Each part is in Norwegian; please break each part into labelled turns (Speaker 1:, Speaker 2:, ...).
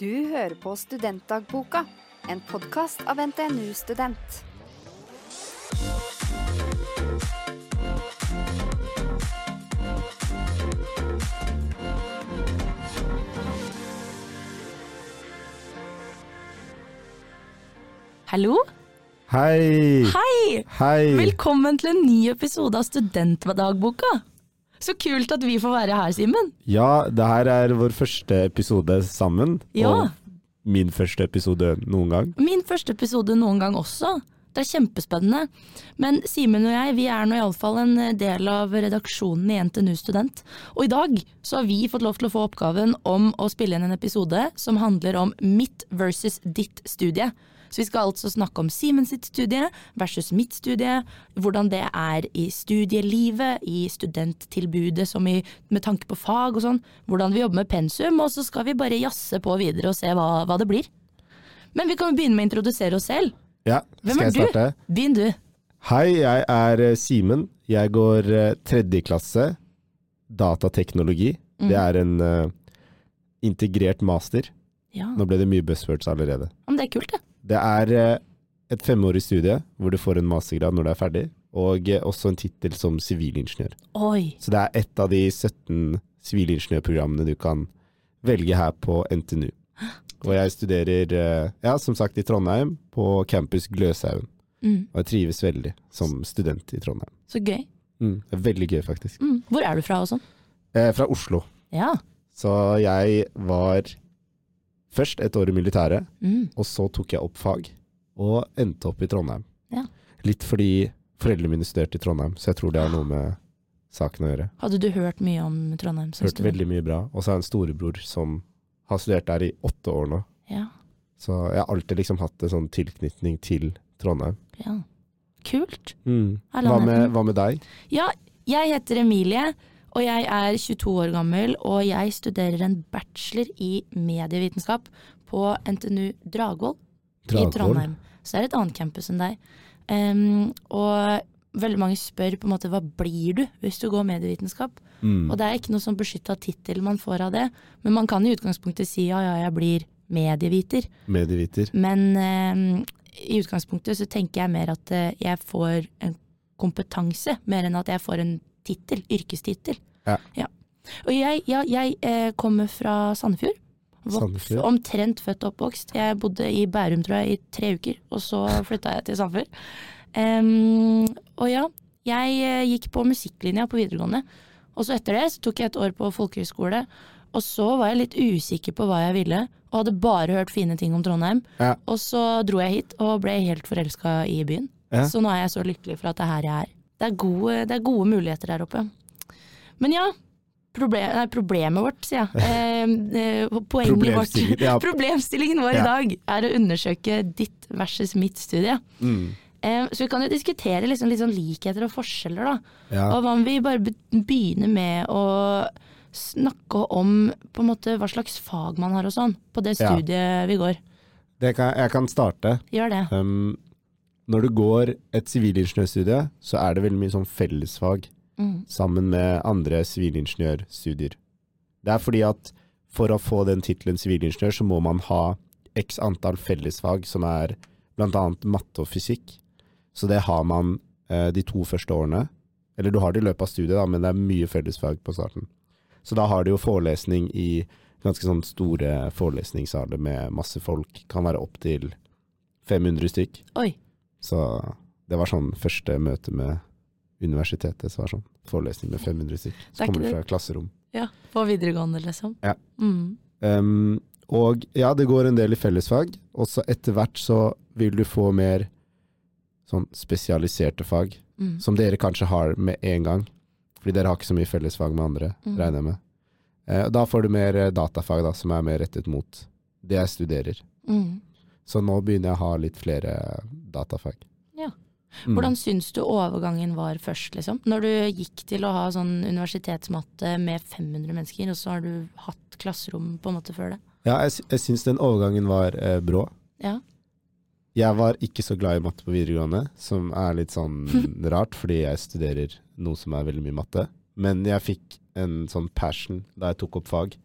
Speaker 1: Du hører på Studentdagboka, en podkast av NTNU Student.
Speaker 2: Hallo?
Speaker 3: Hei!
Speaker 2: Hei!
Speaker 3: Hei!
Speaker 2: Velkommen til en ny episode av Studentdagboka. Så kult at vi får være her, Simen.
Speaker 3: Ja, det her er vår første episode sammen.
Speaker 2: Ja.
Speaker 3: Og min første episode noen gang.
Speaker 2: Min første episode noen gang også. Det er kjempespennende. Men Simen og jeg vi er nå iallfall en eh, del av redaksjonen i NTNU Student. Og i dag så har vi fått lov til å få oppgaven om å spille inn en episode som handler om mitt versus ditt studie. Så vi skal altså snakke om Simens sitt studie versus mitt studie, hvordan det er i studielivet, i studenttilbudet som i, med tanke på fag og sånn, hvordan vi jobber med pensum, og så skal vi bare jazze på videre og se hva, hva det blir. Men vi kan jo begynne med å introdusere oss selv.
Speaker 3: Ja,
Speaker 2: Hvem
Speaker 3: skal jeg
Speaker 2: er du?
Speaker 3: starte?
Speaker 2: Begynn du.
Speaker 3: Hei, jeg er eh, Simen. Jeg går eh, tredje klasse datateknologi. Det
Speaker 2: Mm.
Speaker 3: er en eh, integrert master.
Speaker 2: Ja,
Speaker 3: Nå ble det mye buzzwords allerede.
Speaker 2: men det er kult, det.
Speaker 3: Det er eh, et femårig studie hvor du får en mastergrad når du er ferdig, og eh, også en tittel som sivilingeniør.
Speaker 2: Oi.
Speaker 3: Så det er ett av de 17 sivilingeniørprogrammene du kan velge her på NTNU. Og jeg studerer, eh, ja, som sagt, i Trondheim, på campus Gløshaugen.
Speaker 2: Mm.
Speaker 3: Og jeg trives veldig som student i Trondheim.
Speaker 2: Så gøy.
Speaker 3: Mm. Det er veldig gøy, faktisk.
Speaker 2: Mm. Hvor er du fra og sånn?
Speaker 3: Jeg er fra Oslo,
Speaker 2: Ja.
Speaker 3: så jeg var først et år i militæret,
Speaker 2: Mm.
Speaker 3: og så tok jeg opp fag, og endte opp i Trondheim.
Speaker 2: Ja.
Speaker 3: Litt fordi foreldrene mine studerte i Trondheim, så jeg tror det har noe med saken å gjøre.
Speaker 2: Hadde du hørt mye om Trondheim som
Speaker 3: Hørt
Speaker 2: student?
Speaker 3: veldig mye bra. Og så har jeg en storebror som har studert der i åtte år nå.
Speaker 2: Ja.
Speaker 3: Så jeg har alltid liksom hatt en sånn tilknytning til Trondheim.
Speaker 2: ja. Kult. Er
Speaker 3: Hva,
Speaker 2: landet-
Speaker 3: med, hva med deg?
Speaker 2: Ja, jeg heter Emilie, og jeg er 22 år gammel, og jeg studerer en bachelor i medievitenskap på NTNU Dragvoll i
Speaker 3: Dragvoll?
Speaker 2: Trondheim. Så det er et annet campus enn deg. Em, og veldig mange spør på en måte hva blir du hvis du går medievitenskap?
Speaker 3: Mm.
Speaker 2: Og det er ikke noe sånn beskytta tittel man får av det, men man kan i utgangspunktet si ja, ja, jeg blir medieviter.
Speaker 3: Medieviter.
Speaker 2: Men eh, i utgangspunktet så tenker jeg mer at eh, jeg får en kompetanse, mer enn at jeg får en tittel, yrkestittel.
Speaker 3: Ja.
Speaker 2: Og jeg, ja, jeg eh, kommer fra Sandefjord. Vokst,
Speaker 3: Sandefjord.
Speaker 2: Omtrent født og oppvokst. Jeg bodde i Bærum tror jeg i tre uker, og så flytta jeg til Sandefjord. Em, og ja, jeg eh, gikk på musikklinja på videregående. Og så etter det så tok jeg et år på folkehøyskole. Og så var jeg litt usikker på hva jeg ville, og hadde bare hørt fine ting om Trondheim.
Speaker 3: Ja.
Speaker 2: Og så dro jeg hit og ble helt forelska i byen.
Speaker 3: Ja.
Speaker 2: Så nå er jeg så lykkelig for at det er her jeg er. Det er gode, det er gode muligheter der oppe. Men ja, proble- nei, problemet vårt, sier jeg. Eh, eh, poenget vårt.
Speaker 3: Problemstillingen, ja.
Speaker 2: Problemstillingen vår
Speaker 3: Ja.
Speaker 2: i dag er å undersøke ditt versus mitt studie. Eh, så vi kan jo diskutere liksom, litt sånn likheter og forskjeller, da.
Speaker 3: Ja.
Speaker 2: Og hva om vi bare be- begynner med å snakke om på en måte hva slags fag man har og sånn, på det
Speaker 3: Ja.
Speaker 2: studiet vi går.
Speaker 3: Det kan, jeg kan starte.
Speaker 2: Gjør det.
Speaker 3: Um, når du går et sivilingeniørstudie, så er det veldig mye sånn fellesfag
Speaker 2: Mm.
Speaker 3: sammen med andre sivilingeniørstudier. Det er fordi at for å få den tittelen sivilingeniør, så må man ha x antall fellesfag, som er bl.a. matte og fysikk. Så det har man eh, de to første årene. Eller du har det i løpet av studiet, da, men det er mye fellesfag på starten. Så da har du jo forelesning i ganske sånn store forelesningssaler med masse folk. Kan være opptil 500 stykk.
Speaker 2: Oi.
Speaker 3: Så det var sånn første møte med universitetet, så var det sånn forelesning med 500 stykker.
Speaker 2: Det er
Speaker 3: Så kommer
Speaker 2: ikke
Speaker 3: du
Speaker 2: det.
Speaker 3: fra klasserom.
Speaker 2: Ja, på videregående, liksom.
Speaker 3: Ja.
Speaker 2: Mm.
Speaker 3: Um, og ja, det går en del i fellesfag, og så etter hvert så vil du få mer sånn spesialiserte fag,
Speaker 2: Mm.
Speaker 3: som dere kanskje har med en gang. Fordi dere har ikke så mye fellesfag med andre,
Speaker 2: Mm.
Speaker 3: regner jeg med. Eh, og da får du mer eh, datafag, da, som er mer rettet mot det jeg studerer.
Speaker 2: Mm.
Speaker 3: Så nå begynner jeg å ha litt flere eh, datafag.
Speaker 2: Ja.
Speaker 3: Mm.
Speaker 2: Hvordan syns du overgangen var først, liksom? Når du gikk til å ha sånn universitetsmatte med 500 mennesker, og så har du hatt klasserom på en måte før det?
Speaker 3: Ja, jeg, sy- jeg syns den overgangen var eh, brå.
Speaker 2: Ja.
Speaker 3: Jeg var ikke så glad i matte på videregående, som er litt sånn rart, fordi jeg studerer noe som er veldig mye matte. Men jeg fikk en sånn passion da jeg tok opp fag.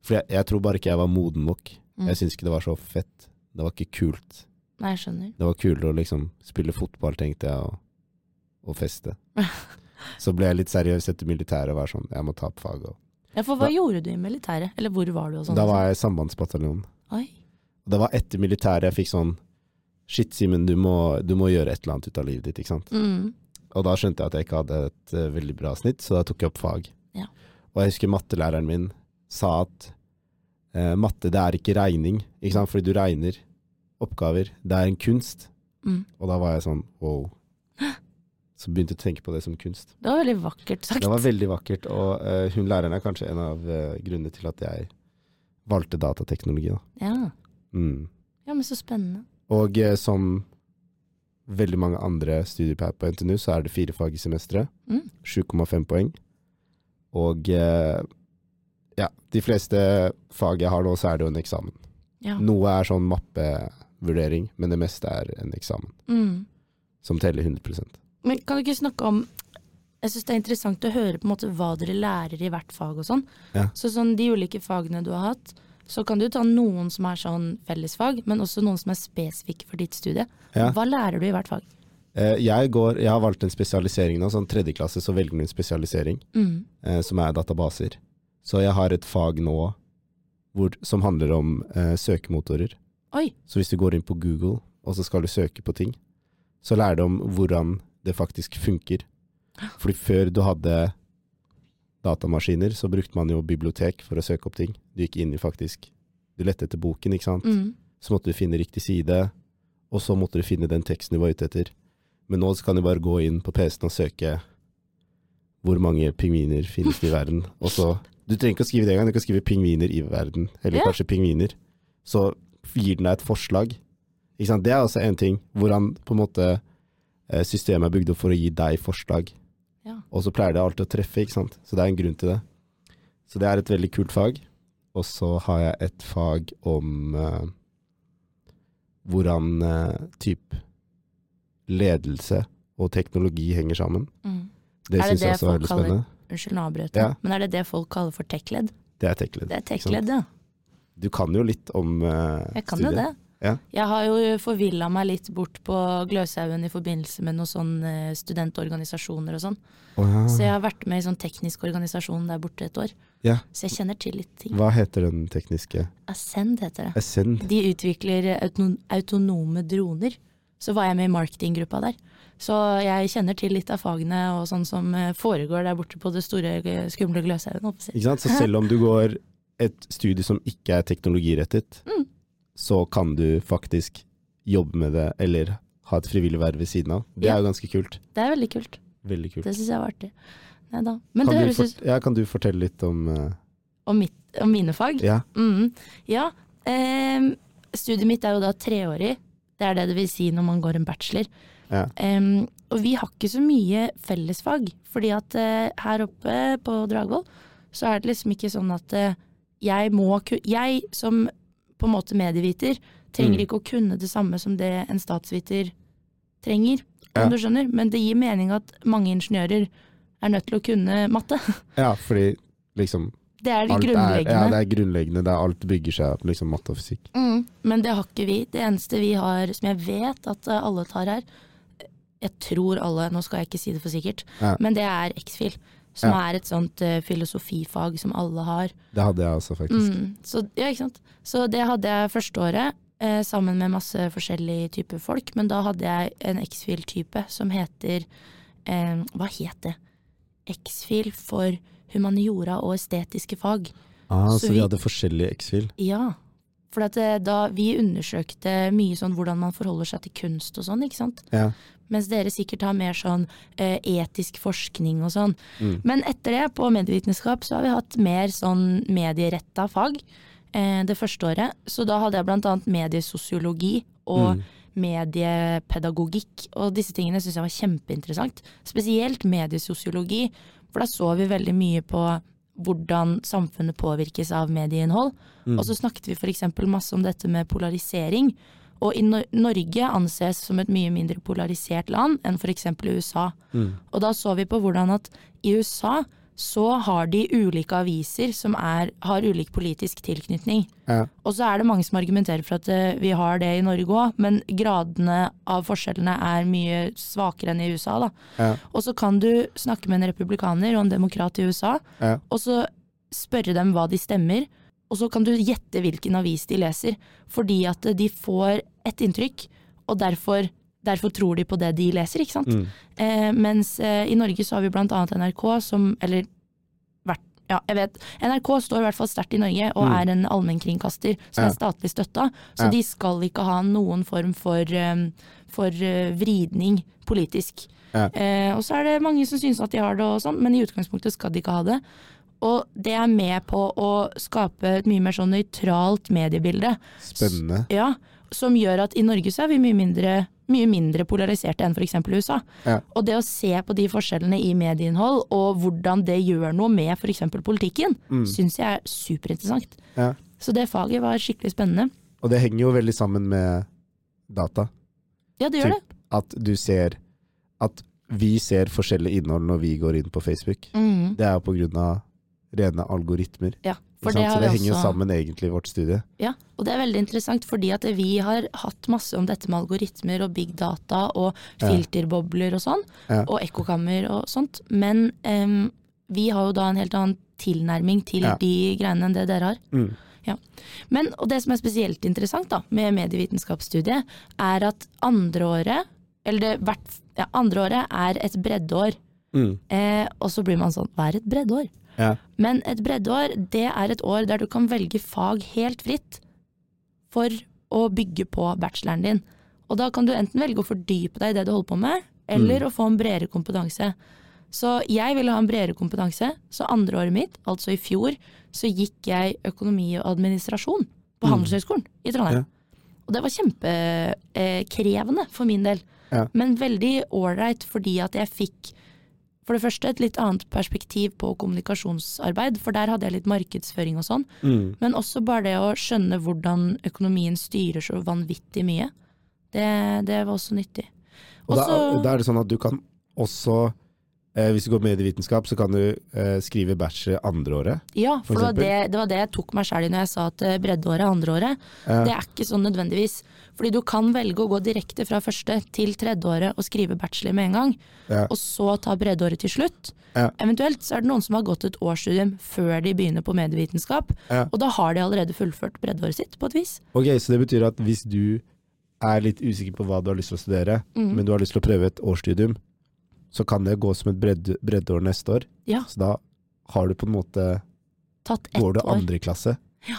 Speaker 3: For jeg, jeg tror bare ikke jeg var moden nok
Speaker 2: Mm.
Speaker 3: Jeg syns ikke det var så fett. Det var ikke kult.
Speaker 2: Nei, jeg skjønner.
Speaker 3: Det var kulere å liksom spille fotball, tenkte jeg, og, og feste. Så ble jeg litt seriøs etter militæret og var sånn, jeg må ta opp faget. også.
Speaker 2: Ja, for hva
Speaker 3: Da-
Speaker 2: gjorde du i militæret? Eller hvor var du og sånn?
Speaker 3: Da var jeg i sambandsbataljonen.
Speaker 2: Oi.
Speaker 3: Det var etter militæret jeg fikk sånn, shit Simen, du må, du må gjøre et eller annet ut av livet ditt, ikke sant?
Speaker 2: Mm.
Speaker 3: Og da skjønte jeg at jeg ikke hadde et eh, veldig bra snitt, så da tok jeg opp fag.
Speaker 2: Ja.
Speaker 3: Og jeg husker mattelæreren min sa at eh, matte det er ikke regning, ikke sant? fordi du regner oppgaver. Det er en kunst.
Speaker 2: Mm.
Speaker 3: Og da var jeg sånn wow. Så begynte jeg å tenke på det som kunst.
Speaker 2: Det var veldig vakkert sagt.
Speaker 3: Det var veldig vakkert, og eh, hun læreren er kanskje en av eh, grunnene til at jeg valgte datateknologi. Da.
Speaker 2: Ja.
Speaker 3: Mm.
Speaker 2: ja, men så spennende.
Speaker 3: Og eh, som veldig mange andre studier på- på NTNU, så er det fire fag i semesteret.
Speaker 2: Mm.
Speaker 3: 7,5 poeng. Og eh, ja, de fleste fag jeg har nå, så er det jo en eksamen.
Speaker 2: Ja.
Speaker 3: Noe er sånn mappevurdering, men det meste er en eksamen,
Speaker 2: Mm.
Speaker 3: som teller 100
Speaker 2: Men kan du ikke snakke om Jeg syns det er interessant å høre på en måte hva dere lærer i hvert fag og sånn.
Speaker 3: Ja.
Speaker 2: Så sånn de ulike fagene du har hatt, så kan du ta noen som er sånn fellesfag, men også noen som er spesifikke for ditt studie.
Speaker 3: Ja.
Speaker 2: Hva lærer du i hvert fag?
Speaker 3: Eh, Jeg, går, jeg har valgt en spesialisering nå, sånn tredje klasse så velger du en spesialisering,
Speaker 2: Mm.
Speaker 3: eh, som er databaser. Så jeg har et fag nå hvor, som handler om eh, søkemotorer.
Speaker 2: Oi.
Speaker 3: Så hvis du går inn på Google, og så skal du søke på ting, så lærer du om hvordan det faktisk funker. Fordi før du hadde datamaskiner, så brukte man jo bibliotek for å søke opp ting. Du gikk inn i faktisk Du lette etter boken, ikke sant?
Speaker 2: Mm.
Speaker 3: Så måtte du finne riktig side, og så måtte du finne den teksten du var ute etter. Men nå så kan du bare gå inn på PC-en og søke hvor mange pingviner finnes det i verden, og så Du trenger ikke å skrive det engang, du kan skrive pingviner i verden, eller
Speaker 2: Ja.
Speaker 3: kanskje pingviner. Så gir den deg et forslag. Ikke sant? Det er også en ting, hvordan på en måte eh, systemet er bygd opp for å gi deg forslag.
Speaker 2: Ja.
Speaker 3: Og så pleier det alltid å treffe, ikke sant? så det er en grunn til det. Så det er et veldig kult fag. Og så har jeg et fag om eh, hvordan eh, typ ledelse og teknologi henger sammen.
Speaker 2: Mm.
Speaker 3: Det
Speaker 2: Er det
Speaker 3: syns jeg
Speaker 2: det
Speaker 3: også er
Speaker 2: folk
Speaker 3: veldig
Speaker 2: kaller-
Speaker 3: spennende.
Speaker 2: Unnskyld, nå avbrøt jeg.
Speaker 3: Ja.
Speaker 2: Men er det det folk kaller for tech-ledd?
Speaker 3: Det er tech-led.
Speaker 2: Det er tech-ledd, ja.
Speaker 3: Du kan jo litt om eh,
Speaker 2: Jeg kan jo
Speaker 3: studiet.
Speaker 2: det.
Speaker 3: Ja.
Speaker 2: Jeg har jo forvilla meg litt bort på Gløshaugen i forbindelse med noen sånne eh, studentorganisasjoner og sånn.
Speaker 3: Å,
Speaker 2: Så
Speaker 3: ja.
Speaker 2: jeg har vært med i sånn teknisk organisasjon der borte et år.
Speaker 3: Ja.
Speaker 2: Så jeg kjenner til litt ting.
Speaker 3: Hva heter den tekniske?
Speaker 2: Ascend heter det.
Speaker 3: Ascend.
Speaker 2: De utvikler autonom, autonome droner. Så var jeg med i marketinggruppa der. Så jeg kjenner til litt av fagene og sånn som eh, foregår der borte på det store, eh, skumle Gløshaugen. holdt jeg på å si.
Speaker 3: Ikke sant? Så selv om du går et studie som ikke er teknologirettet,
Speaker 2: Mm.
Speaker 3: så kan du faktisk jobbe med det, eller ha et frivillig verv ved siden av. Det
Speaker 2: Ja.
Speaker 3: er jo ganske kult.
Speaker 2: Det er veldig kult.
Speaker 3: Veldig kult.
Speaker 2: Det syns jeg var artig. Nei da. Men
Speaker 3: Kan
Speaker 2: det
Speaker 3: du,
Speaker 2: høres ut
Speaker 3: fort ja, kan du fortelle litt om eh,
Speaker 2: om, mitt, om mine fag.
Speaker 3: Ja,
Speaker 2: Mm, ja. Em, studiet mitt er jo da treårig. Det er det det vil si når man går en bachelor.
Speaker 3: Ja.
Speaker 2: Em, og vi har ikke så mye fellesfag, fordi at eh, her oppe på Dragvoll så er det liksom ikke sånn at eh, jeg må ku- Jeg som på en måte medieviter trenger
Speaker 3: Mm.
Speaker 2: ikke å kunne det samme som det en statsviter trenger, om
Speaker 3: Ja.
Speaker 2: du skjønner. Men det gir mening at mange ingeniører er nødt til å kunne matte.
Speaker 3: ja fordi liksom
Speaker 2: Det er det
Speaker 3: alt er,
Speaker 2: grunnleggende.
Speaker 3: ja, det er grunnleggende. Det er alt bygger seg opp, liksom matte og fysikk.
Speaker 2: Mm, men det har ikke vi. Det eneste vi har som jeg vet at eh, alle tar her, eh, jeg tror alle, nå skal jeg ikke si det for sikkert,
Speaker 3: Ja.
Speaker 2: men det er X-FIL. Som
Speaker 3: Ja.
Speaker 2: er et sånt eh, filosofifag som alle har.
Speaker 3: Det hadde jeg også, faktisk.
Speaker 2: Mm, så, ja, ikke sant? så det hadde jeg første året, eh, sammen med masse forskjellige typer folk. Men da hadde jeg en X-FIL-type som heter eh, Hva het det? X-FIL for humaniora og estetiske fag.
Speaker 3: Ah,
Speaker 2: så
Speaker 3: så vi
Speaker 2: vi-
Speaker 3: hadde forskjellig X-fil.
Speaker 2: Ja, for at eh, da vi undersøkte mye sånn hvordan man forholder seg til kunst og sånn, ikke sant?
Speaker 3: Ja.
Speaker 2: Mens dere sikkert har mer sånn eh, etisk forskning og sånn.
Speaker 3: Mm.
Speaker 2: Men etter det, på medievitenskap, så har vi hatt mer sånn medieretta fag eh, det første året. Så da hadde jeg blant annet mediesosiologi og mediepedagogikk, og disse tingene syns jeg var kjempeinteressant. Spesielt mediesosiologi, for da så vi veldig mye på hvordan samfunnet påvirkes av medieinnhold. Og så snakket vi f.eks. masse om dette med polarisering. Og i Nor- Norge anses som et mye mindre polarisert land enn f.eks. USA. Og da så vi på hvordan at i USA så har de ulike aviser som er, har ulik politisk tilknytning.
Speaker 3: Ja.
Speaker 2: Og så er det mange som argumenterer for at eh, vi har det i Norge òg, men gradene av forskjellene er mye svakere enn i USA. da.
Speaker 3: Ja.
Speaker 2: Og så kan du snakke med en republikaner og en demokrat i USA,
Speaker 3: Ja.
Speaker 2: og så spørre dem hva de stemmer, og så kan du gjette hvilken avis de leser, fordi at eh, de får et inntrykk, og derfor, derfor tror de på det de leser, ikke sant?
Speaker 3: Mm.
Speaker 2: Eh, mens eh, i Norge så har vi blant annet NRK som, eller hvert, ja, jeg vet, NRK står i hvert fall sterkt i Norge og
Speaker 3: Mm.
Speaker 2: er en allmennkringkaster som
Speaker 3: Ja.
Speaker 2: er statlig støtta, så
Speaker 3: Ja.
Speaker 2: de skal ikke ha noen form for, eh, for eh, vridning politisk.
Speaker 3: Ja.
Speaker 2: Eh, og så er det mange som synes at de har det og sånn, men i utgangspunktet skal de ikke ha det. Og det er med på å skape et mye mer sånn nøytralt mediebilde.
Speaker 3: Spennende.
Speaker 2: Ja, som gjør at i Norge så er vi mye mindre, mye mindre polariserte enn f.eks. USA.
Speaker 3: Ja.
Speaker 2: Og det å se på de forskjellene i medieinnhold og hvordan det gjør noe med f.eks. politikken,
Speaker 3: Mm.
Speaker 2: syns jeg er superinteressant.
Speaker 3: Ja.
Speaker 2: Så det faget var skikkelig spennende.
Speaker 3: Og det henger jo veldig sammen med data.
Speaker 2: Ja, det gjør det.
Speaker 3: Typ At du ser At vi ser forskjellig innhold når vi går inn på Facebook.
Speaker 2: Mhm.
Speaker 3: Det er jo på grunn av rene algoritmer.
Speaker 2: Ja,
Speaker 3: ikke
Speaker 2: for
Speaker 3: sant?
Speaker 2: det
Speaker 3: Så
Speaker 2: har
Speaker 3: det
Speaker 2: vi
Speaker 3: henger jo
Speaker 2: også
Speaker 3: sammen egentlig i vårt studie.
Speaker 2: Ja, og det er veldig interessant fordi at vi har hatt masse om dette med algoritmer og big data og
Speaker 3: Ja.
Speaker 2: filterbobler og sånn,
Speaker 3: Ja.
Speaker 2: og ekkokammer og sånt, men em, vi har jo da en helt annen tilnærming til
Speaker 3: Ja.
Speaker 2: de greiene enn det dere har.
Speaker 3: Mm.
Speaker 2: Ja. Men, og det som er spesielt interessant da, med medievitenskapsstudiet, er at andre året, eller det, hvert, ja, andre året er et breddeår,
Speaker 3: Mm.
Speaker 2: eh, og så blir man sånn, hva er et breddeår?
Speaker 3: Ja.
Speaker 2: Men et breddeår, det er et år der du kan velge fag helt fritt for å bygge på bacheloren din. Og da kan du enten velge å fordype deg i det du holder på med, eller å få en bredere kompetanse. Så jeg ville ha en bredere kompetanse, så andre året mitt, altså i fjor, så gikk jeg økonomi og administrasjon
Speaker 3: Mm.
Speaker 2: på Handelshøyskolen i Trondheim. Og det var kjempekrevende for min del,
Speaker 3: Ja.
Speaker 2: men veldig ålreit fordi at jeg fikk for det første et litt annet perspektiv på kommunikasjonsarbeid, for der hadde jeg litt markedsføring og sånn.
Speaker 3: Mm.
Speaker 2: Men også bare det å skjønne hvordan økonomien styrer så vanvittig mye. Det, det var også nyttig.
Speaker 3: Og da,
Speaker 2: Også-
Speaker 3: da er det sånn at du kan også eh, Hvis du går medievitenskap, så kan du eh, skrive bachelor andre året.
Speaker 2: Ja, for,
Speaker 3: For
Speaker 2: det, var
Speaker 3: eksempel?
Speaker 2: det, det var det jeg tok meg sjæl i når jeg sa at eh, breddeåret er andre året.
Speaker 3: Ja.
Speaker 2: Det er ikke sånn nødvendigvis. Fordi du kan velge å gå direkte fra første til tredjeåret og skrive bachelor med en gang,
Speaker 3: Ja.
Speaker 2: og så ta breddeåret til slutt.
Speaker 3: Ja.
Speaker 2: Eventuelt så er det noen som har gått et årsstudium før de begynner på medievitenskap,
Speaker 3: Ja.
Speaker 2: og da har de allerede fullført breddeåret sitt på et vis.
Speaker 3: Ok, Så det betyr at hvis du er litt usikker på hva du har lyst til å studere,
Speaker 2: Mhm.
Speaker 3: men du har lyst til å prøve et årsstudium, så kan det gå som et bredde, breddeår neste år.
Speaker 2: Ja.
Speaker 3: Så da har du på en måte
Speaker 2: Tatt ett
Speaker 3: Går du
Speaker 2: år.
Speaker 3: andre klasse,
Speaker 2: Ja.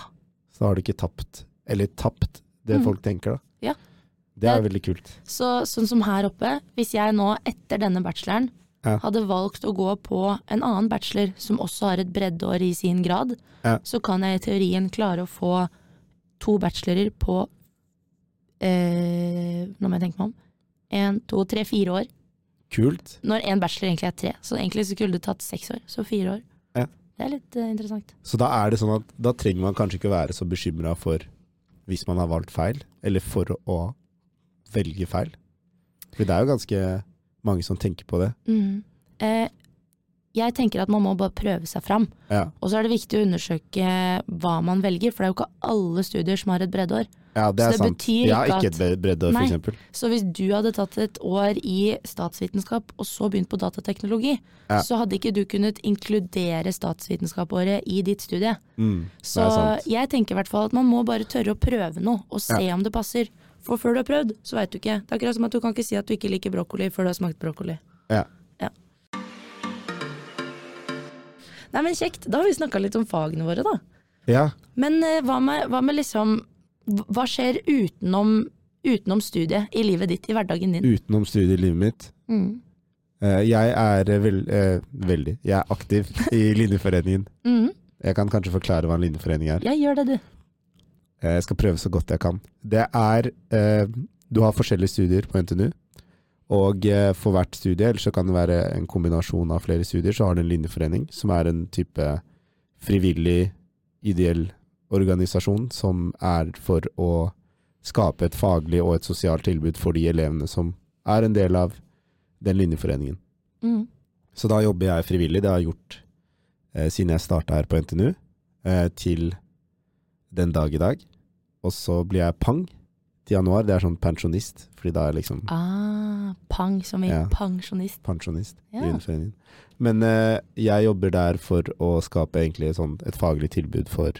Speaker 3: så har du ikke tapt. Eller tapt det
Speaker 2: Mm.
Speaker 3: folk tenker, da.
Speaker 2: Ja.
Speaker 3: Det er veldig kult.
Speaker 2: Så sånn som her oppe, hvis jeg nå etter denne bacheloren
Speaker 3: Ja.
Speaker 2: hadde valgt å gå på en annen bachelor som også har et breddeår i sin grad,
Speaker 3: Ja.
Speaker 2: så kan jeg i teorien klare å få to bachelorer på eh, Nå må jeg tenke meg om. En, to, tre, fire år.
Speaker 3: Kult.
Speaker 2: Når en bachelor egentlig er tre. Så egentlig så skulle det tatt seks år, så fire år.
Speaker 3: Ja.
Speaker 2: Det er litt eh, interessant.
Speaker 3: Så da er det sånn at da trenger man kanskje ikke være så bekymra for hvis man har valgt feil, eller for å velge feil. For det er jo ganske mange som tenker på det.
Speaker 2: Mhm. Eh, jeg tenker at man må bare prøve seg fram.
Speaker 3: Ja,
Speaker 2: Og så er det viktig å undersøke hva man velger, for det er jo ikke alle studier som har et breddeår.
Speaker 3: ja det
Speaker 2: Så
Speaker 3: er
Speaker 2: det
Speaker 3: sant.
Speaker 2: betyr
Speaker 3: Jeg har
Speaker 2: ikke
Speaker 3: ikke et bre- breddeår,
Speaker 2: Nei.
Speaker 3: for eksempel.
Speaker 2: Så hvis du hadde tatt et år i statsvitenskap og så begynt på datateknologi,
Speaker 3: Ja.
Speaker 2: så hadde ikke du kunnet inkludere statsvitenskapåret i ditt studie.
Speaker 3: Mm, det
Speaker 2: Så
Speaker 3: er sant.
Speaker 2: jeg tenker i hvert fall at man må bare tørre å prøve noe, og se om det passer. For før du har prøvd, så veit du ikke. Det er akkurat som at du kan ikke si at du ikke liker brokkoli før du har smakt brokkoli.
Speaker 3: Ja.
Speaker 2: Ja. Nei, men kjekt. Da har vi snakka litt om fagene våre, da.
Speaker 3: Ja,
Speaker 2: Men eh, hva med, hva med liksom Hva skjer utenom, utenom studiet i livet ditt, i hverdagen din?
Speaker 3: utenom studiet i livet mitt.
Speaker 2: Mm.
Speaker 3: Eh, Jeg er eh, vel, eh, veldig Jeg er aktiv i Linjeforeningen.
Speaker 2: Mm.
Speaker 3: Jeg kan kanskje forklare hva en linjeforening er.
Speaker 2: Ja, gjør det, du.
Speaker 3: Eh, Jeg skal prøve så godt jeg kan. Det er eh, Du har forskjellige studier på NTNU. Og eh, for hvert studie, eller så kan det være en kombinasjon av flere studier, så har du en linjeforening, som er en type frivillig, ideell organisasjon som er for å skape et faglig og et sosialt tilbud for de elevene som er en del av den linjeforeningen.
Speaker 2: Mm.
Speaker 3: Så da jobber jeg frivillig, det har jeg gjort eh, siden jeg starta her på NTNU, eh, til den dag i dag. Og så blir jeg pang til januar. Det er sånn pensjonist, fordi da er jeg liksom
Speaker 2: Ah, pang som i
Speaker 3: Ja.
Speaker 2: pensjonist.
Speaker 3: pensjonist
Speaker 2: Ja.
Speaker 3: i Innforeningen. Men eh, jeg jobber der for å skape egentlig sånn et faglig tilbud for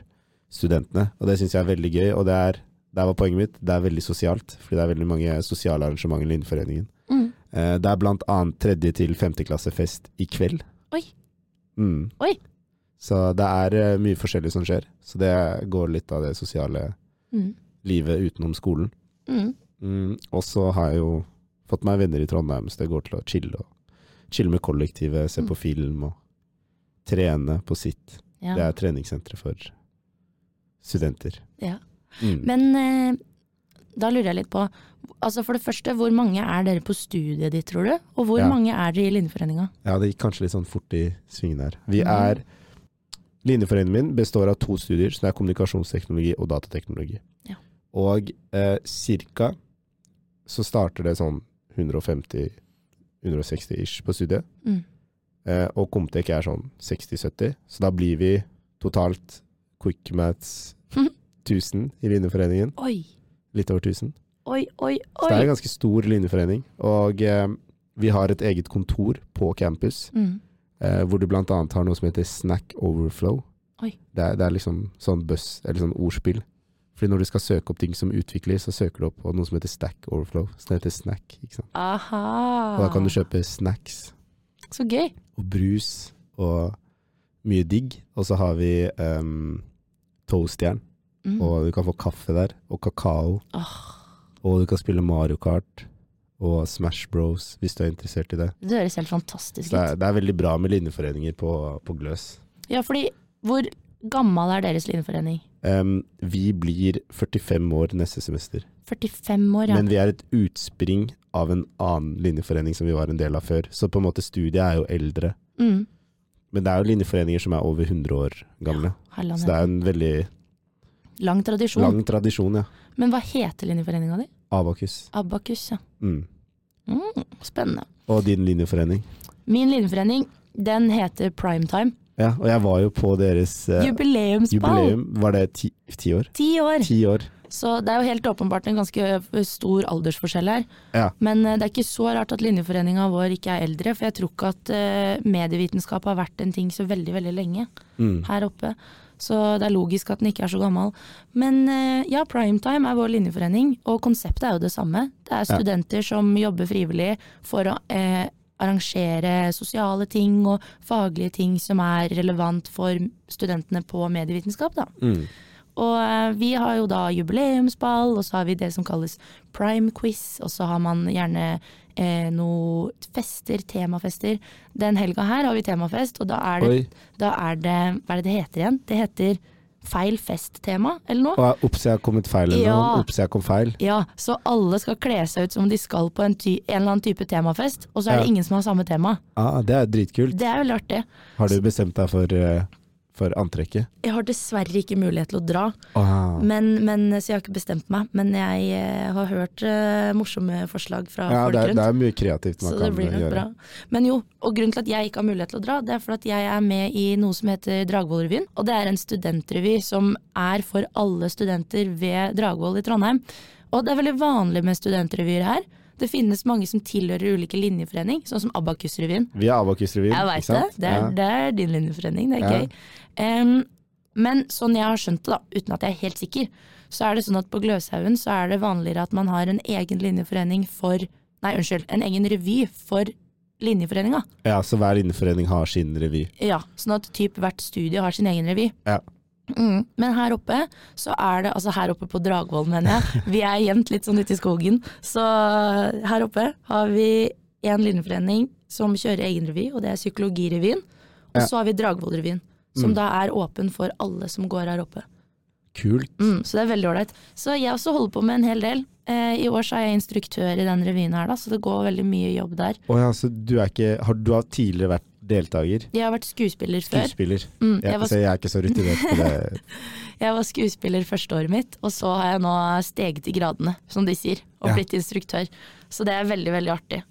Speaker 3: studentene, og det syns jeg er veldig gøy. Og det er, der var poenget mitt, det er veldig sosialt, fordi det er veldig mange sosiale arrangementer i Innforeningen.
Speaker 2: Mm.
Speaker 3: Eh, det er blant annet tredje til femteklassefest i kveld.
Speaker 2: Oi.
Speaker 3: Mm.
Speaker 2: Oi.
Speaker 3: Så det er eh, mye forskjellig som skjer. Så det går litt av det sosiale
Speaker 2: Mm.
Speaker 3: livet utenom skolen.
Speaker 2: Mm.
Speaker 3: Mm, og så har jeg jo fått meg venner i Trondheim, så det går til å chille. Og chille med kollektivet, se på film og trene på sitt.
Speaker 2: Mm. Ja.
Speaker 3: Det er treningssenteret for studenter.
Speaker 2: Ja.
Speaker 3: Mm.
Speaker 2: Men eh, da lurer jeg litt på, altså for det første, hvor mange er dere på studiet ditt, tror du? Og hvor
Speaker 3: Ja.
Speaker 2: mange er dere i Linjeforeninga?
Speaker 3: Ja, det gikk kanskje litt sånn fort i svingen her. Vi
Speaker 2: Mhm.
Speaker 3: er Linjeforeningen min består av to studier, så det er kommunikasjonsteknologi og datateknologi.
Speaker 2: Ja.
Speaker 3: Og eh, cirka så starter det sånn 150-160 ish på studiet.
Speaker 2: Mm.
Speaker 3: Eh, og Comtec er sånn 60-70, så da blir vi totalt quickmats
Speaker 2: Mhm.
Speaker 3: 1000 i Linjeforeningen.
Speaker 2: Oi,
Speaker 3: Litt over 1000.
Speaker 2: oi, oi,
Speaker 3: Så det
Speaker 2: oi!
Speaker 3: er en ganske stor linjeforening. Og eh, vi har et eget kontor på campus
Speaker 2: Mm.
Speaker 3: eh, hvor du blant annet har noe som heter Snack Overflow.
Speaker 2: Oi.
Speaker 3: Det er, det er liksom sånn buss, eller sånn ordspill. Fordi når du skal søke opp ting som utvikles, så søker du opp på noe som heter Stack Overflow. Så det heter Snack, ikke sant.
Speaker 2: Aha.
Speaker 3: Og da kan du
Speaker 2: Ah.
Speaker 3: kjøpe snacks
Speaker 2: Så gøy.
Speaker 3: og brus og mye digg. Og så har vi um, toastjern,
Speaker 2: Mm.
Speaker 3: og du kan få kaffe der, og kakao.
Speaker 2: Åh,
Speaker 3: Og du kan spille Mario Kart og Smash Bros hvis du er interessert i det.
Speaker 2: det høres helt fantastisk
Speaker 3: Så det
Speaker 2: ut.
Speaker 3: er, det er veldig bra med linjeforeninger på, på Gløs.
Speaker 2: Ja, fordi hvor gammel er deres Linjeforening?
Speaker 3: Em, vi blir 45 år neste semester,
Speaker 2: 45 år, ja.
Speaker 3: men vi er et utspring av en annen linjeforening som vi var en del av før. Så på en måte studiet er jo eldre.
Speaker 2: Mm.
Speaker 3: Men det er jo linjeforeninger som er over 100 år gamle. Så det
Speaker 2: Herlandet.
Speaker 3: er en veldig
Speaker 2: Lang tradisjon.
Speaker 3: lang tradisjon, ja.
Speaker 2: Men hva heter linjeforeninga di?
Speaker 3: Abakus.
Speaker 2: Abakus, ja.
Speaker 3: Mm.
Speaker 2: Mm, spennende.
Speaker 3: Og din linjeforening.
Speaker 2: Min linjeforening, den heter Primetime.
Speaker 3: Ja, og jeg var jo på deres eh,
Speaker 2: Jubileumsball!
Speaker 3: jubileum. Var det ti, ti år?
Speaker 2: Ti år!
Speaker 3: Ti år.
Speaker 2: Så det er jo helt åpenbart en ganske stor aldersforskjell her.
Speaker 3: Ja.
Speaker 2: Men eh, det er ikke så rart at linjeforeninga vår ikke er eldre, for jeg tror ikke at eh, medievitenskap har vært en ting så veldig, veldig lenge
Speaker 3: Mm.
Speaker 2: her oppe. Så det er logisk at den ikke er så gammel. Men eh, ja, Primetime er vår linjeforening, og konseptet er jo det samme. Det er studenter som jobber frivillig for å eh, arrangere sosiale ting og faglige ting som er relevant for studentene på medievitenskap, da.
Speaker 3: Mm.
Speaker 2: Og eh, vi har jo da jubileumsball, og så har vi det som kalles prime quiz, og så har man gjerne eh, noe fester, temafester. Den helga her har vi temafest, og da er det,
Speaker 3: Oi.
Speaker 2: da er det Hva er det det heter igjen? Det heter feil fest-tema, eller noe?
Speaker 3: Og eh, Ops, jeg har kommet feil eller noe.
Speaker 2: Ja.
Speaker 3: Ops, jeg kom feil.
Speaker 2: Ja, så alle skal kle seg ut som om de skal på en, ty en eller annen type temafest, og så er det
Speaker 3: Ja.
Speaker 2: ingen som har samme tema.
Speaker 3: Ah, det er dritkult.
Speaker 2: Det er veldig artig.
Speaker 3: Har du bestemt deg for, eh, for antrekket?
Speaker 2: Jeg har dessverre ikke mulighet til å dra,
Speaker 3: Ah.
Speaker 2: men, men, så jeg har ikke bestemt meg. Men jeg eh, har hørt eh, morsomme forslag fra
Speaker 3: Ja,
Speaker 2: folk
Speaker 3: det er,
Speaker 2: rundt.
Speaker 3: det er mye kreativt man
Speaker 2: så det
Speaker 3: kan
Speaker 2: blir nok
Speaker 3: gjøre.
Speaker 2: bra. Men jo, og grunnen til at jeg ikke har mulighet til å dra, det er for at jeg er med i noe som heter Dragvollrevyen. Og det er en studentrevy som er for alle studenter ved Dragvoll i Trondheim. Og det er veldig vanlig med studentrevyer her. Det finnes mange som tilhører ulike linjeforening, sånn som Abakusrevyen.
Speaker 3: Vi er Abakus-revyen,
Speaker 2: Jeg veit det. Det er,
Speaker 3: Ja.
Speaker 2: det er din linjeforening, det er
Speaker 3: Ja.
Speaker 2: gøy. Em, men sånn jeg har skjønt det, da, uten at jeg er helt sikker, så er det sånn at på Gløshaugen så er det vanligere at man har en egen linjeforening for Nei, unnskyld, en egen revy for linjeforeninga.
Speaker 3: ja, så hver innforening har sin revy.
Speaker 2: Ja, sånn at typ hvert studie har sin egen revy.
Speaker 3: Ja.
Speaker 2: Mm. Men her oppe så er det, altså her oppe på Dragvoll mener jeg, vi er gjemt litt sånn ute i skogen, så eh, her oppe har vi en linjeforening som kjører egen revy, og det er psykologirevyen, og
Speaker 3: Ja. Mm.
Speaker 2: så har vi Dragvollrevyen, som da er åpen for alle som går her oppe.
Speaker 3: Kult.
Speaker 2: Mm, så det er veldig ålreit. Så jeg også holder på med en hel del. Eh, I år så er jeg instruktør i den revyen her da, så det går veldig mye jobb der.
Speaker 3: Å ja, så du, er ikke, har, du har tidligere vært deltaker?
Speaker 2: Jeg har vært skuespiller før.
Speaker 3: Skuespiller.
Speaker 2: Mm,
Speaker 3: jeg,
Speaker 2: jeg var
Speaker 3: så jeg er ikke så rutinert på det.
Speaker 2: Jeg var skuespiller første året mitt, og så har jeg nå steget i gradene, som de sier, og
Speaker 3: Ja.
Speaker 2: blitt instruktør. Så det er veldig, veldig artig.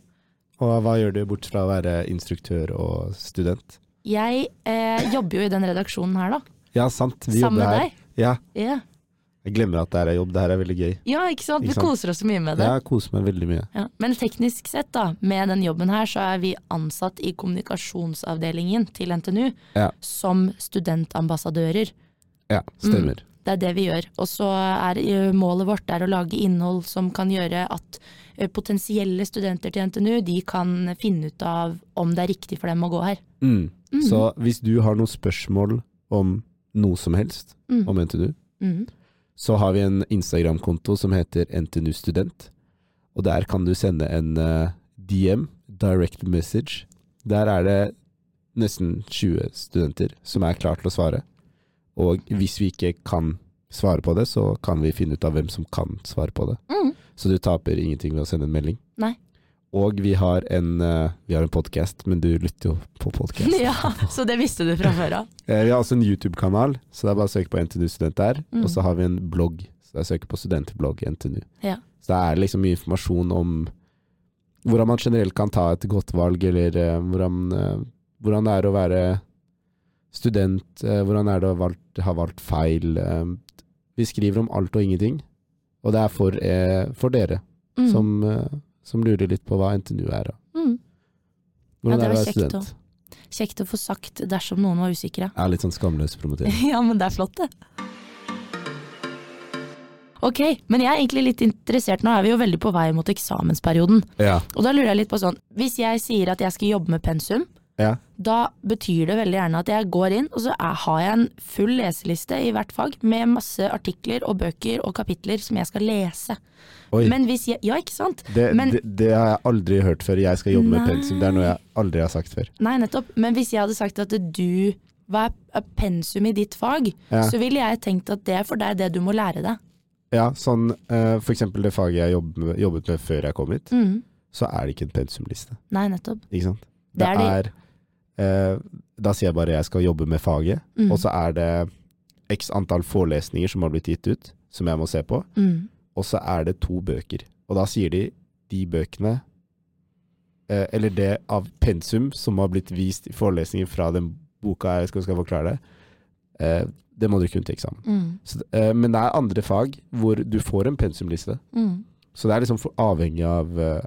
Speaker 3: Og hva gjør du bort fra å være instruktør og student?
Speaker 2: Jeg eh, jobber jo i den redaksjonen her, da.
Speaker 3: Ja, sant. Vi
Speaker 2: Sammen
Speaker 3: jobber
Speaker 2: med
Speaker 3: her.
Speaker 2: deg.
Speaker 3: Ja,
Speaker 2: Ja.
Speaker 3: jeg glemmer at det her er jobb. Det her er veldig gøy.
Speaker 2: ja, ikke sant. Vi
Speaker 3: Ikke sant?
Speaker 2: koser oss så mye med det.
Speaker 3: Jeg koser meg veldig mye.
Speaker 2: Ja. Men teknisk sett, da, med den jobben her, så er vi ansatt i kommunikasjonsavdelingen til NTNU
Speaker 3: Ja.
Speaker 2: som studentambassadører.
Speaker 3: Ja,
Speaker 2: Mm.
Speaker 3: stemmer.
Speaker 2: Det er det vi gjør. Og så er eh, målet vårt er å lage innhold som kan gjøre at eh, potensielle studenter til NTNU de kan finne ut av om det er riktig for dem å gå her.
Speaker 3: Mm. Så hvis du har noen spørsmål om noe som helst
Speaker 2: Mm.
Speaker 3: om NTNU,
Speaker 2: Mhm.
Speaker 3: så har vi en Instagram-konto som heter NTNU Student. Og der kan du sende en eh, DM, direct message. Der er det nesten 20 studenter som er klar til å svare. Og
Speaker 2: Mm.
Speaker 3: hvis vi ikke kan svare på det, så kan vi finne ut av hvem som kan svare på det.
Speaker 2: Mm.
Speaker 3: Så du taper ingenting ved å sende en melding.
Speaker 2: Nei.
Speaker 3: Og vi har en, eh, vi har en podkast, men du lytter jo på podkast.
Speaker 2: Ja, så det visste du fra før av.
Speaker 3: Eh, Vi har også en YouTube-kanal, så det er bare å søke på NTNU Student der.
Speaker 2: Mm.
Speaker 3: Og så har vi en blogg, så det er å søke på studentblogg NTNU.
Speaker 2: Ja.
Speaker 3: Så der er det liksom mye informasjon om hvordan man generelt kan ta et godt valg, eller eh, hvordan, eh, hvordan det er å være student, eh, hvordan er det å valgt, ha valgt feil. eh. vi skriver om alt og ingenting, og det er for, eh, for dere
Speaker 2: Mm.
Speaker 3: som, eh, som lurer litt på hva NTNU er. og
Speaker 2: Mm. Ja,
Speaker 3: Hvordan
Speaker 2: det
Speaker 3: er det å
Speaker 2: var
Speaker 3: være
Speaker 2: kjekt
Speaker 3: student?
Speaker 2: Kjekt å få sagt dersom noen var usikre.
Speaker 3: Det er litt sånn skamløs promotering.
Speaker 2: Ja, men det er flott, det. Ok, men jeg er egentlig litt interessert, nå er vi jo veldig på vei mot eksamensperioden.
Speaker 3: ja.
Speaker 2: Og da lurer jeg litt på sånn, hvis jeg sier at jeg skal jobbe med pensum,
Speaker 3: ja.
Speaker 2: da betyr det veldig gjerne at jeg går inn, og så er, har jeg en full leseliste i hvert fag, med masse artikler og bøker og kapitler som jeg skal lese.
Speaker 3: Oi.
Speaker 2: Men hvis jeg, ja ikke sant?
Speaker 3: Det,
Speaker 2: Men-
Speaker 3: det, det har jeg aldri hørt før. Jeg skal jobbe med
Speaker 2: Nei.
Speaker 3: pensum. Det er noe jeg aldri har sagt før.
Speaker 2: Nei, nettopp. Men hvis jeg hadde sagt at du, hva er pensum i ditt fag,
Speaker 3: Ja.
Speaker 2: så ville jeg tenkt at det er for deg det du må lære deg.
Speaker 3: Ja, sånn, eh, for eksempel det faget jeg jobb, jobbet med før jeg kom hit,
Speaker 2: Mm.
Speaker 3: så er det ikke en pensumliste.
Speaker 2: Nei, nettopp.
Speaker 3: Ikke sant?
Speaker 2: Det er det.
Speaker 3: er, eh, Da sier jeg bare jeg skal jobbe med faget,
Speaker 2: Mm.
Speaker 3: og så er det x antall forelesninger som har blitt gitt ut, som jeg må se på,
Speaker 2: Mm.
Speaker 3: og så er det to bøker. Og da sier de de bøkene eh, eller det av pensum som har blitt vist i forelesninger fra den boka jeg skal, skal forklare det, eh, det må du kunne til eksamen.
Speaker 2: Mm.
Speaker 3: Så, det- eh, men det er andre fag hvor du får en pensumliste.
Speaker 2: Mm.
Speaker 3: Så det er liksom for, avhengig av eh,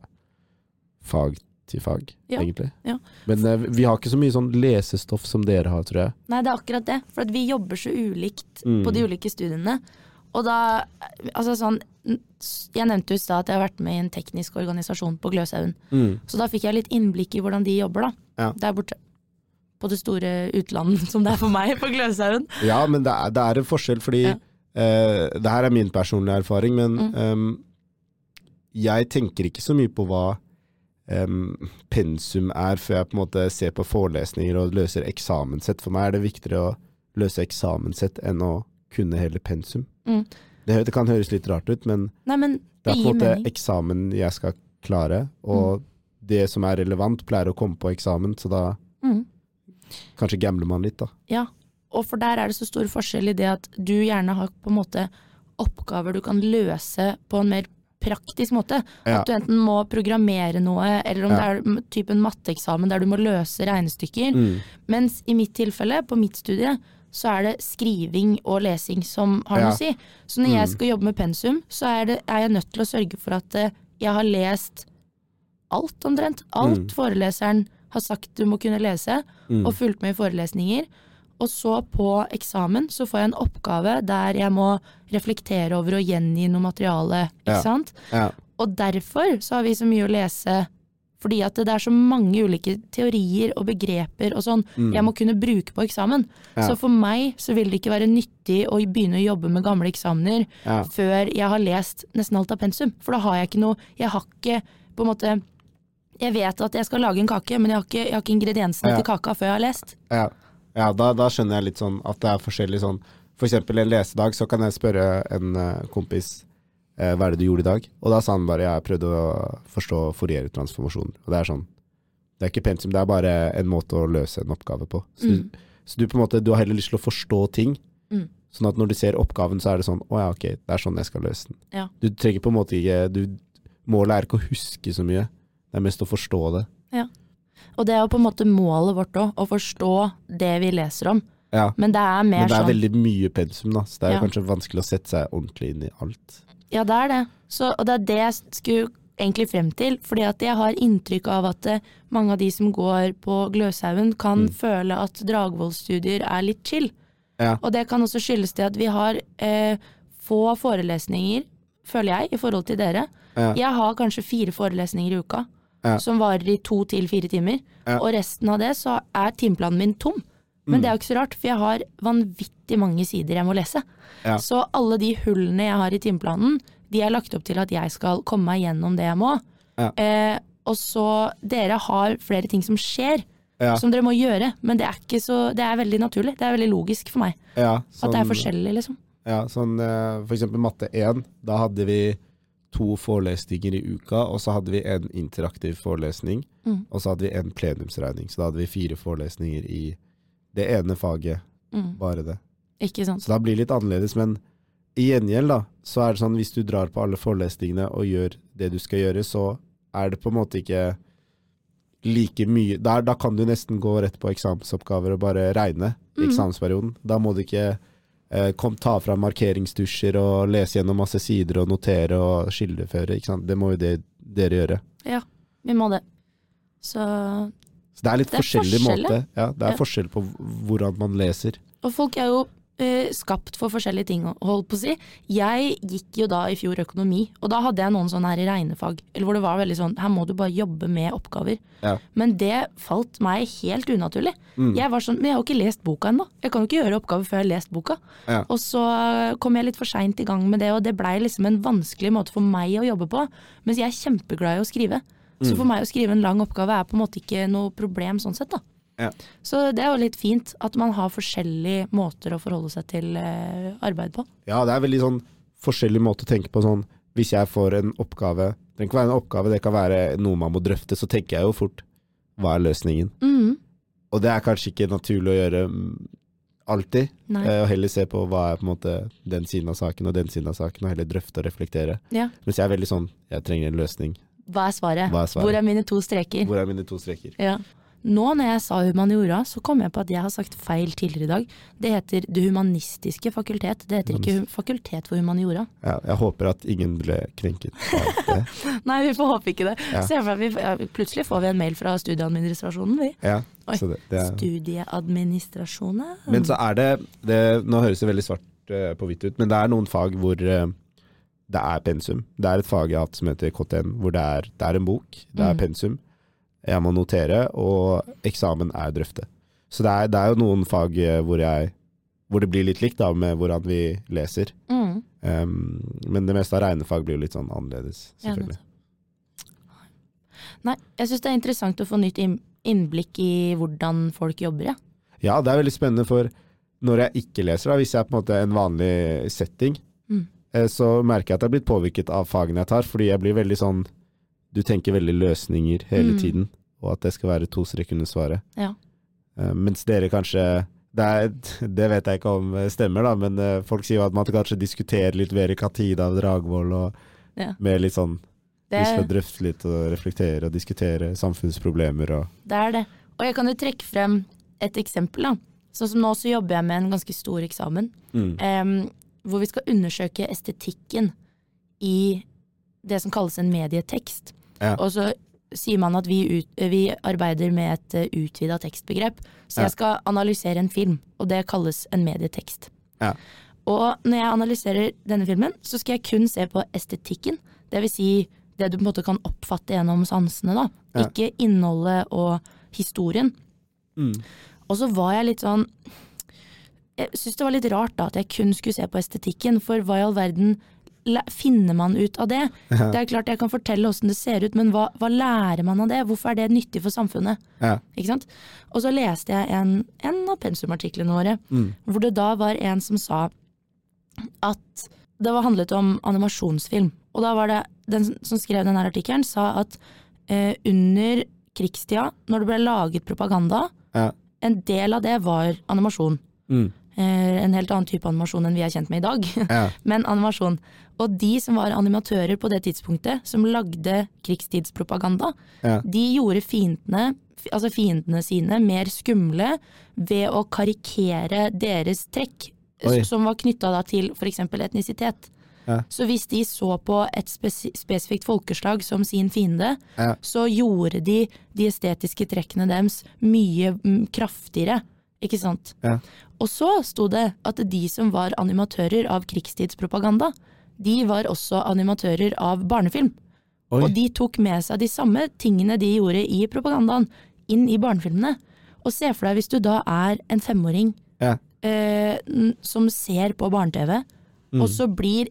Speaker 3: fag til fag,
Speaker 2: Ja,
Speaker 3: egentlig.
Speaker 2: ja.
Speaker 3: Men eh, vi har ikke så mye sånn lesestoff som dere har, tror jeg.
Speaker 2: Nei, det er akkurat det. For at vi jobber så ulikt
Speaker 3: Mm.
Speaker 2: på de ulike studiene. Og da, altså sånn, jeg nevnte jo i stad at jeg har vært med i en teknisk organisasjon på Gløshaugen. Så da fikk jeg litt innblikk i hvordan de jobber da,
Speaker 3: Ja.
Speaker 2: der borte. På det store utlandet som det er for meg på Gløshaugen.
Speaker 3: Ja, men det er, det er en forskjell, fordi
Speaker 2: Ja.
Speaker 3: eh, det her er min personlige erfaring, men
Speaker 2: Mm.
Speaker 3: ehm, jeg tenker ikke så mye på hva ehm, pensum er, før jeg på en måte ser på forelesninger og løser eksamenssett. For meg er det viktigere å løse eksamenssett enn å kunne hele pensum.
Speaker 2: Mm.
Speaker 3: Det, hø- det kan høres litt rart ut, men
Speaker 2: Nei, men
Speaker 3: det
Speaker 2: det
Speaker 3: er på
Speaker 2: gir
Speaker 3: en måte
Speaker 2: mening.
Speaker 3: eksamen jeg skal klare, og det som er relevant pleier å komme på eksamen, så da
Speaker 2: Mm.
Speaker 3: kanskje gambler man litt, da.
Speaker 2: Ja, og for der er det så stor forskjell i det at du gjerne har på en måte oppgaver du kan løse på en mer praktisk måte.
Speaker 3: Ja.
Speaker 2: At du enten må programmere noe, eller om
Speaker 3: Ja.
Speaker 2: det er m- typen matteeksamen der du må løse regnestykker.
Speaker 3: Mm.
Speaker 2: Mens i mitt tilfelle, på mitt studie, så er det skriving og lesing som har
Speaker 3: Ja. Mm.
Speaker 2: noe å si. Så når jeg skal jobbe med pensum, så er, det, er jeg nødt til å sørge for at eh, jeg har lest alt omtrent. Alt foreleseren har sagt du må kunne lese,
Speaker 3: Mm.
Speaker 2: og fulgt med i forelesninger. Og så på eksamen så får jeg en oppgave der jeg må reflektere over og gjengi noe materiale. Ikke
Speaker 3: Ja.
Speaker 2: sant?
Speaker 3: Ja.
Speaker 2: Og derfor så har vi så mye å lese. Fordi at det er så mange ulike teorier og begreper og sånn jeg må kunne bruke på eksamen.
Speaker 3: Mm. Ja.
Speaker 2: Så for meg så vil det ikke være nyttig å begynne å jobbe med gamle eksamener
Speaker 3: Ja.
Speaker 2: før jeg har lest nesten alt av pensum. For da har jeg ikke noe Jeg har ikke på en måte Jeg vet at jeg skal lage en kake, men jeg har ikke, jeg har ikke ingrediensene
Speaker 3: Ja.
Speaker 2: til kaka før jeg har lest.
Speaker 3: Ja, ja da, da skjønner jeg litt sånn at det er forskjellig sånn. For eksempel en lesedag, så kan jeg spørre en eh, kompis eh, hva er det du gjorde i dag? Og da sa han bare jeg prøvde å forstå Fourier-transformasjon. Og det er sånn, det er ikke pensum, det er bare en måte å løse en oppgave på. Så, du- så du på en måte, du har heller lyst til å forstå ting,
Speaker 2: Mm.
Speaker 3: sånn at når du ser oppgaven, så er det sånn, å ja, ok, det er sånn jeg skal løse den.
Speaker 2: Ja.
Speaker 3: Du trenger på en måte ikke, du, målet er ikke å huske så mye, det er mest å forstå det.
Speaker 2: Og det er jo på en måte målet vårt òg, å forstå det vi leser om.
Speaker 3: Ja.
Speaker 2: Men det er mer
Speaker 3: Men det er
Speaker 2: sånn
Speaker 3: veldig mye pensum, da, så det er jo
Speaker 2: Ja.
Speaker 3: kanskje vanskelig å sette seg ordentlig inn i alt.
Speaker 2: Ja, det er det. Så, og det er det jeg skulle egentlig frem til. Fordi at jeg har inntrykk av at eh, mange av de som går på Gløshaugen, kan føle at Dragvoll-studier er litt chill.
Speaker 3: Ja.
Speaker 2: Og det kan også skyldes det at vi har eh, få forelesninger, føler jeg, i forhold til dere.
Speaker 3: Ja.
Speaker 2: Jeg har kanskje fire forelesninger i uka,
Speaker 3: Ja.
Speaker 2: som varer i to til fire timer.
Speaker 3: Ja. Mm.
Speaker 2: Og resten av det så er timeplanen min tom. Men det er jo ikke så rart, for jeg har vanvittig mange sider jeg må lese.
Speaker 3: Ja.
Speaker 2: Så alle de hullene jeg har i timeplanen, de er lagt opp til at jeg skal komme meg gjennom det jeg må.
Speaker 3: Ja.
Speaker 2: Eh, og så dere har flere ting som skjer,
Speaker 3: Ja.
Speaker 2: som dere må gjøre. Men det er, ikke så, det er veldig naturlig. Det er veldig logisk for meg.
Speaker 3: Ja,
Speaker 2: At det er
Speaker 3: sånn-
Speaker 2: forskjellig, liksom.
Speaker 3: Ja, sånn eh, for eksempel matte 1, da hadde vi to forelesninger i uka, og så hadde vi en interaktiv forelesning,
Speaker 2: Mm.
Speaker 3: og så hadde vi en plenumsregning, så da hadde vi fire forelesninger i det ene faget,
Speaker 2: Mm.
Speaker 3: bare det.
Speaker 2: Ikke sant.
Speaker 3: Så da blir det litt annerledes, men i gjengjeld da, så er det sånn hvis du drar på alle forelesningene og gjør det du skal gjøre, så er det på en måte ikke like mye, da, da kan du nesten gå rett på eksamensoppgaver og bare regne i
Speaker 2: Mhm.
Speaker 3: eksamensperioden. Da må du ikke eh, kom, ta fram markeringsdusjer og lese gjennom masse sider og notere og skildeføre, ikke sant? Det må jo det dere gjøre.
Speaker 2: Vi må det. Så
Speaker 3: Så det er litt
Speaker 2: Det er
Speaker 3: forskjellig
Speaker 2: forskjell,
Speaker 3: måte. Ja, det er
Speaker 2: Ja.
Speaker 3: forskjell på hv- hvordan man leser.
Speaker 2: Og folk er jo eh, skapt for forskjellige ting, holdt på å si. Jeg gikk jo da i fjor økonomi, og da hadde jeg noen sånne her i regnefag, eller hvor det var veldig sånn, her må du bare jobbe med oppgaver.
Speaker 3: Ja. Mm.
Speaker 2: Men det falt meg helt unaturlig. Jeg var sånn, men jeg har jo ikke lest boka ennå. Jeg kan jo ikke gjøre oppgaver før jeg har lest boka.
Speaker 3: Ja.
Speaker 2: Og så kom jeg litt for seint i gang med det, og det blei liksom en vanskelig måte for meg å jobbe på. Mens jeg er kjempeglad i å skrive. Så
Speaker 3: Mm.
Speaker 2: for meg å skrive en lang oppgave er på en måte ikke noe problem sånn sett, da.
Speaker 3: Ja.
Speaker 2: Så det er jo litt fint at man har forskjellige måter å forholde seg til eh, arbeid på.
Speaker 3: Ja, det er veldig sånn forskjellig måte å tenke på sånn Hvis jeg får en oppgave Det kan ikke være en oppgave, det kan være noe man må drøfte, så tenker jeg jo fort hva er løsningen?
Speaker 2: Mhm.
Speaker 3: Og det er kanskje ikke naturlig å gjøre mm, alltid.
Speaker 2: Nei.
Speaker 3: eh, Og heller se på hva er på en måte den siden av saken og den siden av saken, og heller drøfte og reflektere.
Speaker 2: Ja.
Speaker 3: Mens jeg er veldig sånn Jeg trenger en løsning.
Speaker 2: Hva er svaret?
Speaker 3: Hva er svaret?
Speaker 2: Hvor er mine to streker?
Speaker 3: Hvor er mine to streker?
Speaker 2: Ja. Nå når jeg sa humaniora, så kom jeg på at jeg har sagt feil tidligere i dag. Det heter Det humanistiske fakultet. Det heter ikke hu- Fakultet for humaniora.
Speaker 3: Ja, jeg håper at ingen ble krenket av det.
Speaker 2: Nei, vi får håpe ikke det.
Speaker 3: Ja.
Speaker 2: Se for deg at vi, ja, plutselig får vi en mail fra studieadministrasjonen, vi.
Speaker 3: Ja,
Speaker 2: Oi,
Speaker 3: så det, det er.
Speaker 2: Studieadministrasjonen?
Speaker 3: Men så er det, det Nå høres det veldig svart eh, på hvitt ut, men det er noen fag hvor eh, det er pensum. Det er et fag jeg har hatt som heter KTN, hvor det er, det er en bok, det er
Speaker 2: Mm.
Speaker 3: pensum. Jeg må notere, og eksamen er drøfte. Så det er, det er jo noen fag eh, hvor, jeg, hvor det blir litt likt da, med hvordan vi leser.
Speaker 2: Mm.
Speaker 3: Um, men det meste av regnefag blir jo litt sånn annerledes,
Speaker 2: Ja,
Speaker 3: selvfølgelig.
Speaker 2: Nei, jeg syns det er interessant å få nytt inn- innblikk i hvordan folk jobber, ja.
Speaker 3: Ja, det er veldig spennende for når jeg ikke leser, da, hvis jeg er på en måte i en vanlig setting,
Speaker 2: Mm.
Speaker 3: eh, så merker jeg at jeg er blitt påvirket av fagene jeg tar, fordi jeg blir veldig sånn Du tenker veldig løsninger hele
Speaker 2: Mm.
Speaker 3: tiden, og at det skal være to streker under svaret.
Speaker 2: Ja.
Speaker 3: Eh, mens dere kanskje det, er, det vet jeg ikke om eh, stemmer, da, men eh, folk sier jo at man kanskje diskuterer litt mer i Katida og Dragvoll, og
Speaker 2: Ja.
Speaker 3: med litt sånn
Speaker 2: Det,
Speaker 3: Vi skal drøfte litt og reflektere og diskutere samfunnsproblemer og
Speaker 2: det er det. Og jeg kan jo trekke frem et eksempel, da. Sånn som nå så jobber jeg med en ganske stor eksamen,
Speaker 3: Mm.
Speaker 2: em, hvor vi skal undersøke estetikken i det som kalles en medietekst.
Speaker 3: Ja.
Speaker 2: Og så sier man at vi, ut, vi arbeider med et eh, utvida tekstbegrep. Så
Speaker 3: Ja.
Speaker 2: jeg skal analysere en film, og det kalles en medietekst.
Speaker 3: Ja.
Speaker 2: Og når jeg analyserer denne filmen, så skal jeg kun se på estetikken. Det vil si det du på en måte kan oppfatte gjennom sansene, da.
Speaker 3: Ja.
Speaker 2: Ikke innholdet og historien.
Speaker 3: Mm.
Speaker 2: Og så var jeg litt sånn Jeg syns det var litt rart da at jeg kun skulle se på estetikken, for hva i all verden læ- finner man ut av det? Det er klart jeg kan fortelle åssen det ser ut, men hva, hva lærer man av det? Hvorfor er det nyttig for samfunnet?
Speaker 3: Ja.
Speaker 2: Ikke sant? Og så leste jeg en, en av pensumartiklene våre,
Speaker 3: Mm.
Speaker 2: hvor det da var en som sa at det var handlet om animasjonsfilm. Og da var det den som skrev denne artikkelen, sa at eh, under krigstida, når det ble laget propaganda,
Speaker 3: Ja.
Speaker 2: en del av det var animasjon.
Speaker 3: Mm.
Speaker 2: Eh, en helt annen type animasjon enn vi er kjent med i dag,
Speaker 3: Ja.
Speaker 2: men animasjon. Og de som var animatører på det tidspunktet, som lagde krigstidspropaganda,
Speaker 3: Ja.
Speaker 2: de gjorde fiendene altså fiendene sine mer skumle ved å karikere deres trekk,
Speaker 3: Oi.
Speaker 2: s- som var knytta da til f.eks. etnisitet.
Speaker 3: Ja.
Speaker 2: Så hvis de så på et spesi spesifikt folkeslag som sin fiende,
Speaker 3: Ja.
Speaker 2: så gjorde de de estetiske trekkene deres mye mm, kraftigere, ikke sant?
Speaker 3: Ja.
Speaker 2: Og så sto det at de som var animatører av krigstidspropaganda, de var også animatører av barnefilm.
Speaker 3: Oi.
Speaker 2: Og de tok med seg de samme tingene de gjorde i propagandaen, inn i barnefilmene. Og se for deg hvis du da er en femåring
Speaker 3: Ja.
Speaker 2: eh, n- som ser på barne-TV,
Speaker 3: Mm.
Speaker 2: og så blir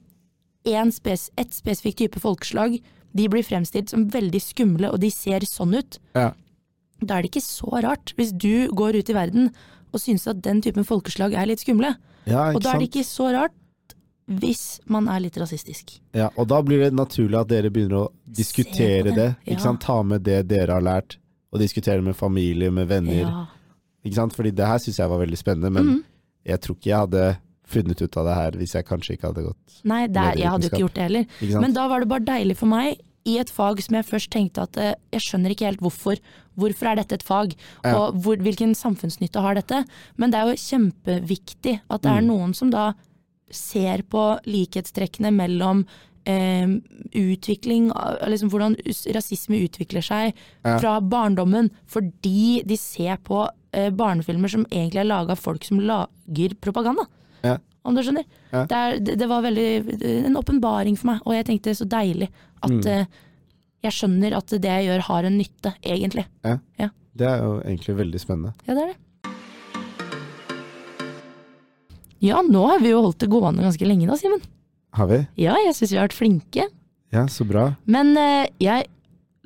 Speaker 2: en spes et spesifikk type folkeslag de blir fremstilt som veldig skumle, og de ser sånn ut.
Speaker 3: Ja.
Speaker 2: Da er det ikke så rart hvis du går ut i verden og synes at den typen folkeslag er litt skumle.
Speaker 3: Ja,
Speaker 2: Og
Speaker 3: ikke
Speaker 2: da er det
Speaker 3: sant?
Speaker 2: ikke så rart hvis man er litt rasistisk.
Speaker 3: Ja, og da blir det naturlig at dere begynner å diskutere
Speaker 2: det,
Speaker 3: det.
Speaker 2: ja.
Speaker 3: Ikke sant? Ta med det dere har lært, og diskutere med familie, med venner.
Speaker 2: Ja. Mhm.
Speaker 3: Ikke sant? Fordi det her syns jeg var veldig spennende, men jeg tror ikke jeg hadde funnet ut av det her hvis jeg kanskje ikke hadde gått.
Speaker 2: Nei, det er, jeg hadde jo
Speaker 3: Medievitenskap.
Speaker 2: ikke gjort det heller.
Speaker 3: Ikke sant?
Speaker 2: Men da var det bare deilig for meg, i et fag som jeg først tenkte at eh, jeg skjønner ikke helt hvorfor. Hvorfor er dette et fag,
Speaker 3: Ja.
Speaker 2: og hvor, hvilken samfunnsnytte har dette? Men det er jo kjempeviktig at det
Speaker 3: Mm.
Speaker 2: er noen som da ser på likhetstrekkene mellom eh, utvikling, eh, liksom hvordan us- rasisme utvikler seg
Speaker 3: Ja.
Speaker 2: fra barndommen, fordi de ser på eh, barnefilmer som egentlig er laga av folk som lager propaganda.
Speaker 3: Ja.
Speaker 2: Om du skjønner?
Speaker 3: Ja.
Speaker 2: Det, er, det, det var veldig, en åpenbaring for meg, og jeg tenkte så deilig at eh, jeg skjønner at det jeg gjør har en nytte, egentlig.
Speaker 3: Det er jo egentlig veldig spennende.
Speaker 2: Ja, det er det. Ja, nå har vi jo holdt det gående ganske lenge da, Simen.
Speaker 3: Har vi?
Speaker 2: Ja, jeg syns vi har vært flinke.
Speaker 3: Ja, så bra.
Speaker 2: Men eh, jeg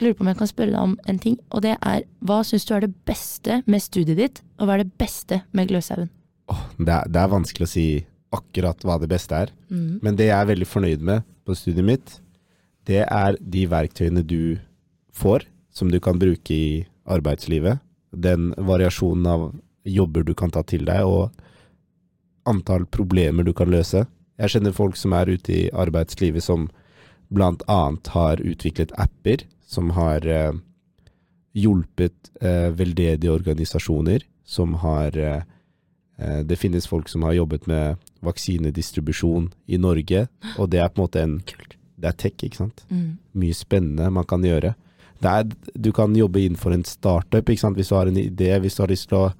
Speaker 2: lurer på om jeg kan spørre deg om en ting, og det er hva syns du er det beste med studiet ditt, og hva er det beste med Gløshaugen?
Speaker 3: Det er, det er vanskelig å si akkurat hva det beste er. Men det jeg er veldig fornøyd med på studiet mitt, det er de verktøyene du får, som du kan bruke i arbeidslivet. Den variasjonen av jobber du kan ta til deg, og antall problemer du kan løse. Jeg kjenner folk som er ute i arbeidslivet som blant annet har utviklet apper, som har eh, hjulpet eh, veldedige organisasjoner, som har eh, Eh, Det finnes folk som har jobbet med vaksinedistribusjon i Norge, og det er på en måte en
Speaker 2: Kult.
Speaker 3: Det er tech, ikke sant?
Speaker 2: Mm.
Speaker 3: Mye spennende man kan gjøre. Det er, du kan jobbe innenfor en startup, ikke sant? hvis du har en idé, hvis du har lyst til å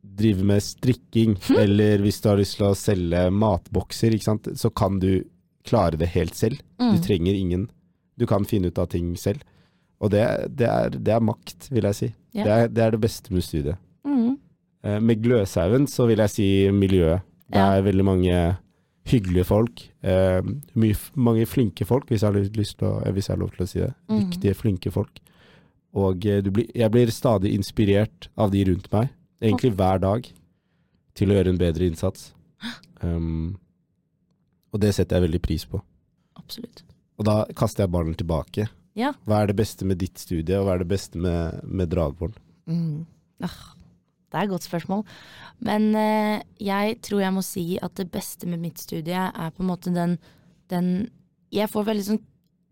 Speaker 3: drive med strikking,
Speaker 2: Hm.
Speaker 3: eller hvis du har lyst til å selge matbokser, ikke sant? så kan du klare det helt selv. Du
Speaker 2: Mm.
Speaker 3: trenger ingen. Du kan finne ut av ting selv. Og det, det, er, det er makt, vil jeg si.
Speaker 2: Ja.
Speaker 3: Det, er, det er det beste med studiet.
Speaker 2: Mm.
Speaker 3: Eh, Med Gløshaugen så vil jeg si miljøet. Det
Speaker 2: Ja.
Speaker 3: er veldig mange hyggelige folk. eh, mye, f- mange flinke folk, hvis jeg har lyst- lyst til å, eh, hvis jeg har lov til å si det.
Speaker 2: Mhm.
Speaker 3: Dyktige, flinke folk. Og eh, du blir, jeg blir stadig inspirert av de rundt meg, egentlig hver dag, til å gjøre en bedre innsats. Um, og det setter jeg veldig pris på.
Speaker 2: Absolutt.
Speaker 3: Og da kaster jeg ballen tilbake.
Speaker 2: Ja.
Speaker 3: Hva er det beste med ditt studie, og hva er det beste med, med Dragvoll?
Speaker 2: Mm. Ah, det er et godt spørsmål. Men eh, jeg tror jeg må si at det beste med mitt studie er på en måte den, den jeg, får veldig sånn,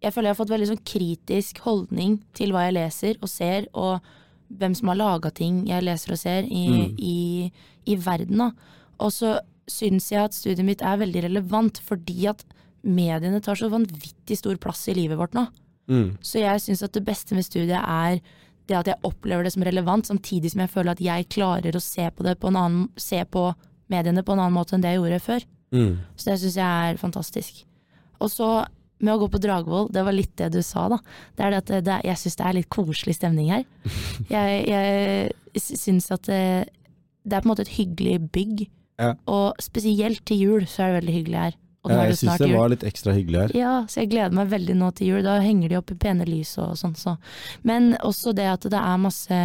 Speaker 2: jeg føler jeg har fått veldig sånn kritisk holdning til hva jeg leser og ser, og hvem som har laga ting jeg leser og ser i, i, i verden. Da. Og så syns jeg at studiet mitt er veldig relevant fordi at mediene tar så vanvittig stor plass i livet vårt nå.
Speaker 3: Mm,
Speaker 2: Så jeg syns at det beste med studiet er det at jeg opplever det som relevant, samtidig som jeg føler at jeg klarer å se på det på en annen Se på mediene på en annen måte enn det jeg gjorde før.
Speaker 3: mm.
Speaker 2: Så det syns jeg er fantastisk. Og så med å gå på Dragvoll, det var litt det du sa, da. Det er det at det, det, er- jeg syns det er litt koselig stemning her. Jeg, jeg syns at det, det er på en måte et hyggelig bygg.
Speaker 3: Ja.
Speaker 2: Og spesielt til jul så er det veldig hyggelig her. Og nå
Speaker 3: Ja,
Speaker 2: er
Speaker 3: jeg
Speaker 2: det
Speaker 3: syns
Speaker 2: snart
Speaker 3: det
Speaker 2: jul.
Speaker 3: var litt ekstra hyggelig her.
Speaker 2: Ja, så jeg gleder meg veldig nå til jul. Da henger de opp i pene lys og sånn. Så. Men også det at det er masse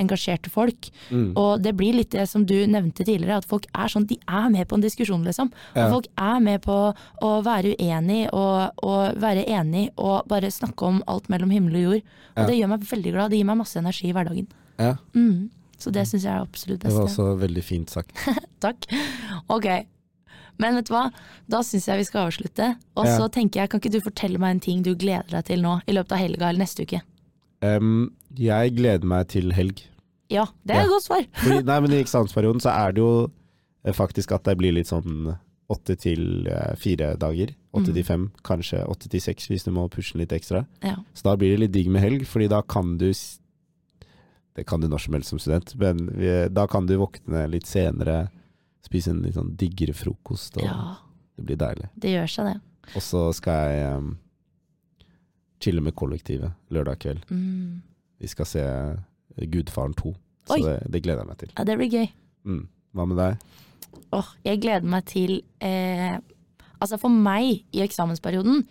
Speaker 2: engasjerte folk.
Speaker 3: Mm.
Speaker 2: Og det blir litt det som du nevnte tidligere, at folk er sånn, de er med på en diskusjon, liksom.
Speaker 3: Ja.
Speaker 2: Og folk er med på å være uenig og, og være enig og bare snakke om alt mellom himmel og jord. Og
Speaker 3: Ja.
Speaker 2: det gjør meg veldig glad. Det gir meg masse energi i hverdagen.
Speaker 3: Ja.
Speaker 2: Mm. Så det syns jeg er absolutt
Speaker 3: Det
Speaker 2: best.
Speaker 3: var
Speaker 2: ja.
Speaker 3: også veldig fint sagt.
Speaker 2: Takk. Ok. Men vet du hva, da syns jeg vi skal avslutte. Og
Speaker 3: Ja.
Speaker 2: så tenker jeg, kan ikke du fortelle meg en ting du gleder deg til nå i løpet av helga eller neste uke?
Speaker 3: Em, jeg gleder meg til helg.
Speaker 2: Ja, det er et godt svar.
Speaker 3: Fordi, nei, men I eksamensperioden så er det jo eh, faktisk at det blir litt sånn åtte til eh, fire dager. Åtte
Speaker 2: Mm.
Speaker 3: til fem, kanskje åtte til seks hvis du må pushe den litt ekstra.
Speaker 2: Ja.
Speaker 3: Så da blir det litt digg med helg, fordi da kan du s- Det kan du når som helst som student, men vi- da kan du våkne litt senere, spise en litt sånn diggere frokost, og
Speaker 2: ja,
Speaker 3: det blir deilig.
Speaker 2: det gjør seg det.
Speaker 3: Og så skal jeg em, chille med kollektivet lørdag kveld.
Speaker 2: Mm.
Speaker 3: Vi skal se Gudfaren 2, så
Speaker 2: Oi.
Speaker 3: det, det gleder jeg meg til.
Speaker 2: Ja, det blir gøy.
Speaker 3: Mm. Hva med deg?
Speaker 2: Åh, jeg gleder meg til eh, Altså for meg i eksamensperioden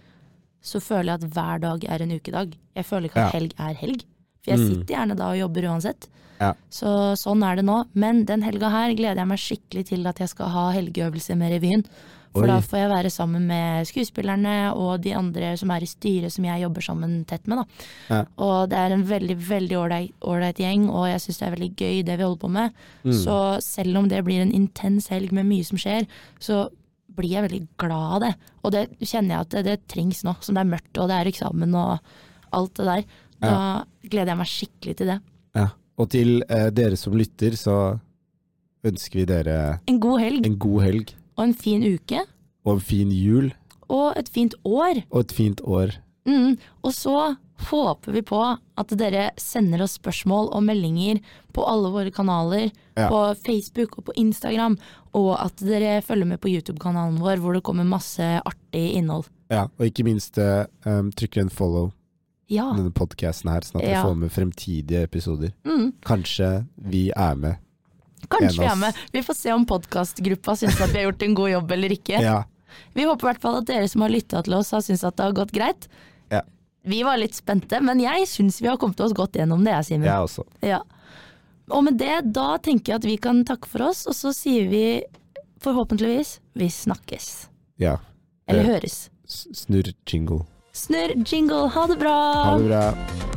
Speaker 2: så føler jeg at hver dag er en ukedag. Jeg føler ikke at
Speaker 3: Ja.
Speaker 2: helg er helg. For jeg
Speaker 3: Mm.
Speaker 2: sitter gjerne da og jobber uansett.
Speaker 3: Ja.
Speaker 2: Så sånn er det nå. Men den helga her gleder jeg meg skikkelig til at jeg skal ha helgeøvelse med revyen. For
Speaker 3: Oi.
Speaker 2: da får jeg være sammen med skuespillerne og de andre som er i styret som jeg jobber sammen tett med. da.
Speaker 3: Ja.
Speaker 2: Og det er en veldig veldig ålreit ålreit gjeng, og jeg syns det er veldig gøy det vi holder på med.
Speaker 3: Mm.
Speaker 2: Så selv om det blir en intens helg med mye som skjer, så blir jeg veldig glad av det. Og det kjenner jeg at det, det trengs nå, som det er mørkt og det er eksamen og alt det der. Da gleder jeg meg skikkelig til det.
Speaker 3: Ja. Og til eh, dere som lytter, så ønsker vi dere
Speaker 2: En god helg
Speaker 3: en god helg
Speaker 2: og en fin uke
Speaker 3: og en fin jul
Speaker 2: og et fint år.
Speaker 3: og et fint år.
Speaker 2: Mm. Og så håper vi på at dere sender oss spørsmål og meldinger på alle våre kanaler,
Speaker 3: Ja.
Speaker 2: på Facebook og på Instagram, og at dere følger med på YouTube-kanalen vår hvor det kommer masse artig innhold.
Speaker 3: Ja, og ikke minst eh, um, trykk en follow
Speaker 2: Ja.
Speaker 3: denne podcasten her, sånn at dere
Speaker 2: Ja.
Speaker 3: får med fremtidige episoder.
Speaker 2: Mm.
Speaker 3: Kanskje vi er med.
Speaker 2: Kanskje
Speaker 3: En av
Speaker 2: vi
Speaker 3: oss.
Speaker 2: er med. Vi får se om podkastgruppa syns at vi har gjort en god jobb eller ikke.
Speaker 3: Ja.
Speaker 2: Vi håper i hvert fall at dere som har lytta til oss har syntes at det har gått greit.
Speaker 3: Ja.
Speaker 2: Vi var litt spente, men jeg syns vi har kommet oss godt gjennom det, jeg, Simen.
Speaker 3: Jeg også.
Speaker 2: Ja. Og med det, da tenker jeg at vi kan takke for oss, og så sier vi forhåpentligvis vi snakkes.
Speaker 3: Ja.
Speaker 2: Eller
Speaker 3: Det-
Speaker 2: høres.
Speaker 3: S- Snurr jingle.
Speaker 2: Snurr jingle, ha det bra!
Speaker 3: Ha det bra.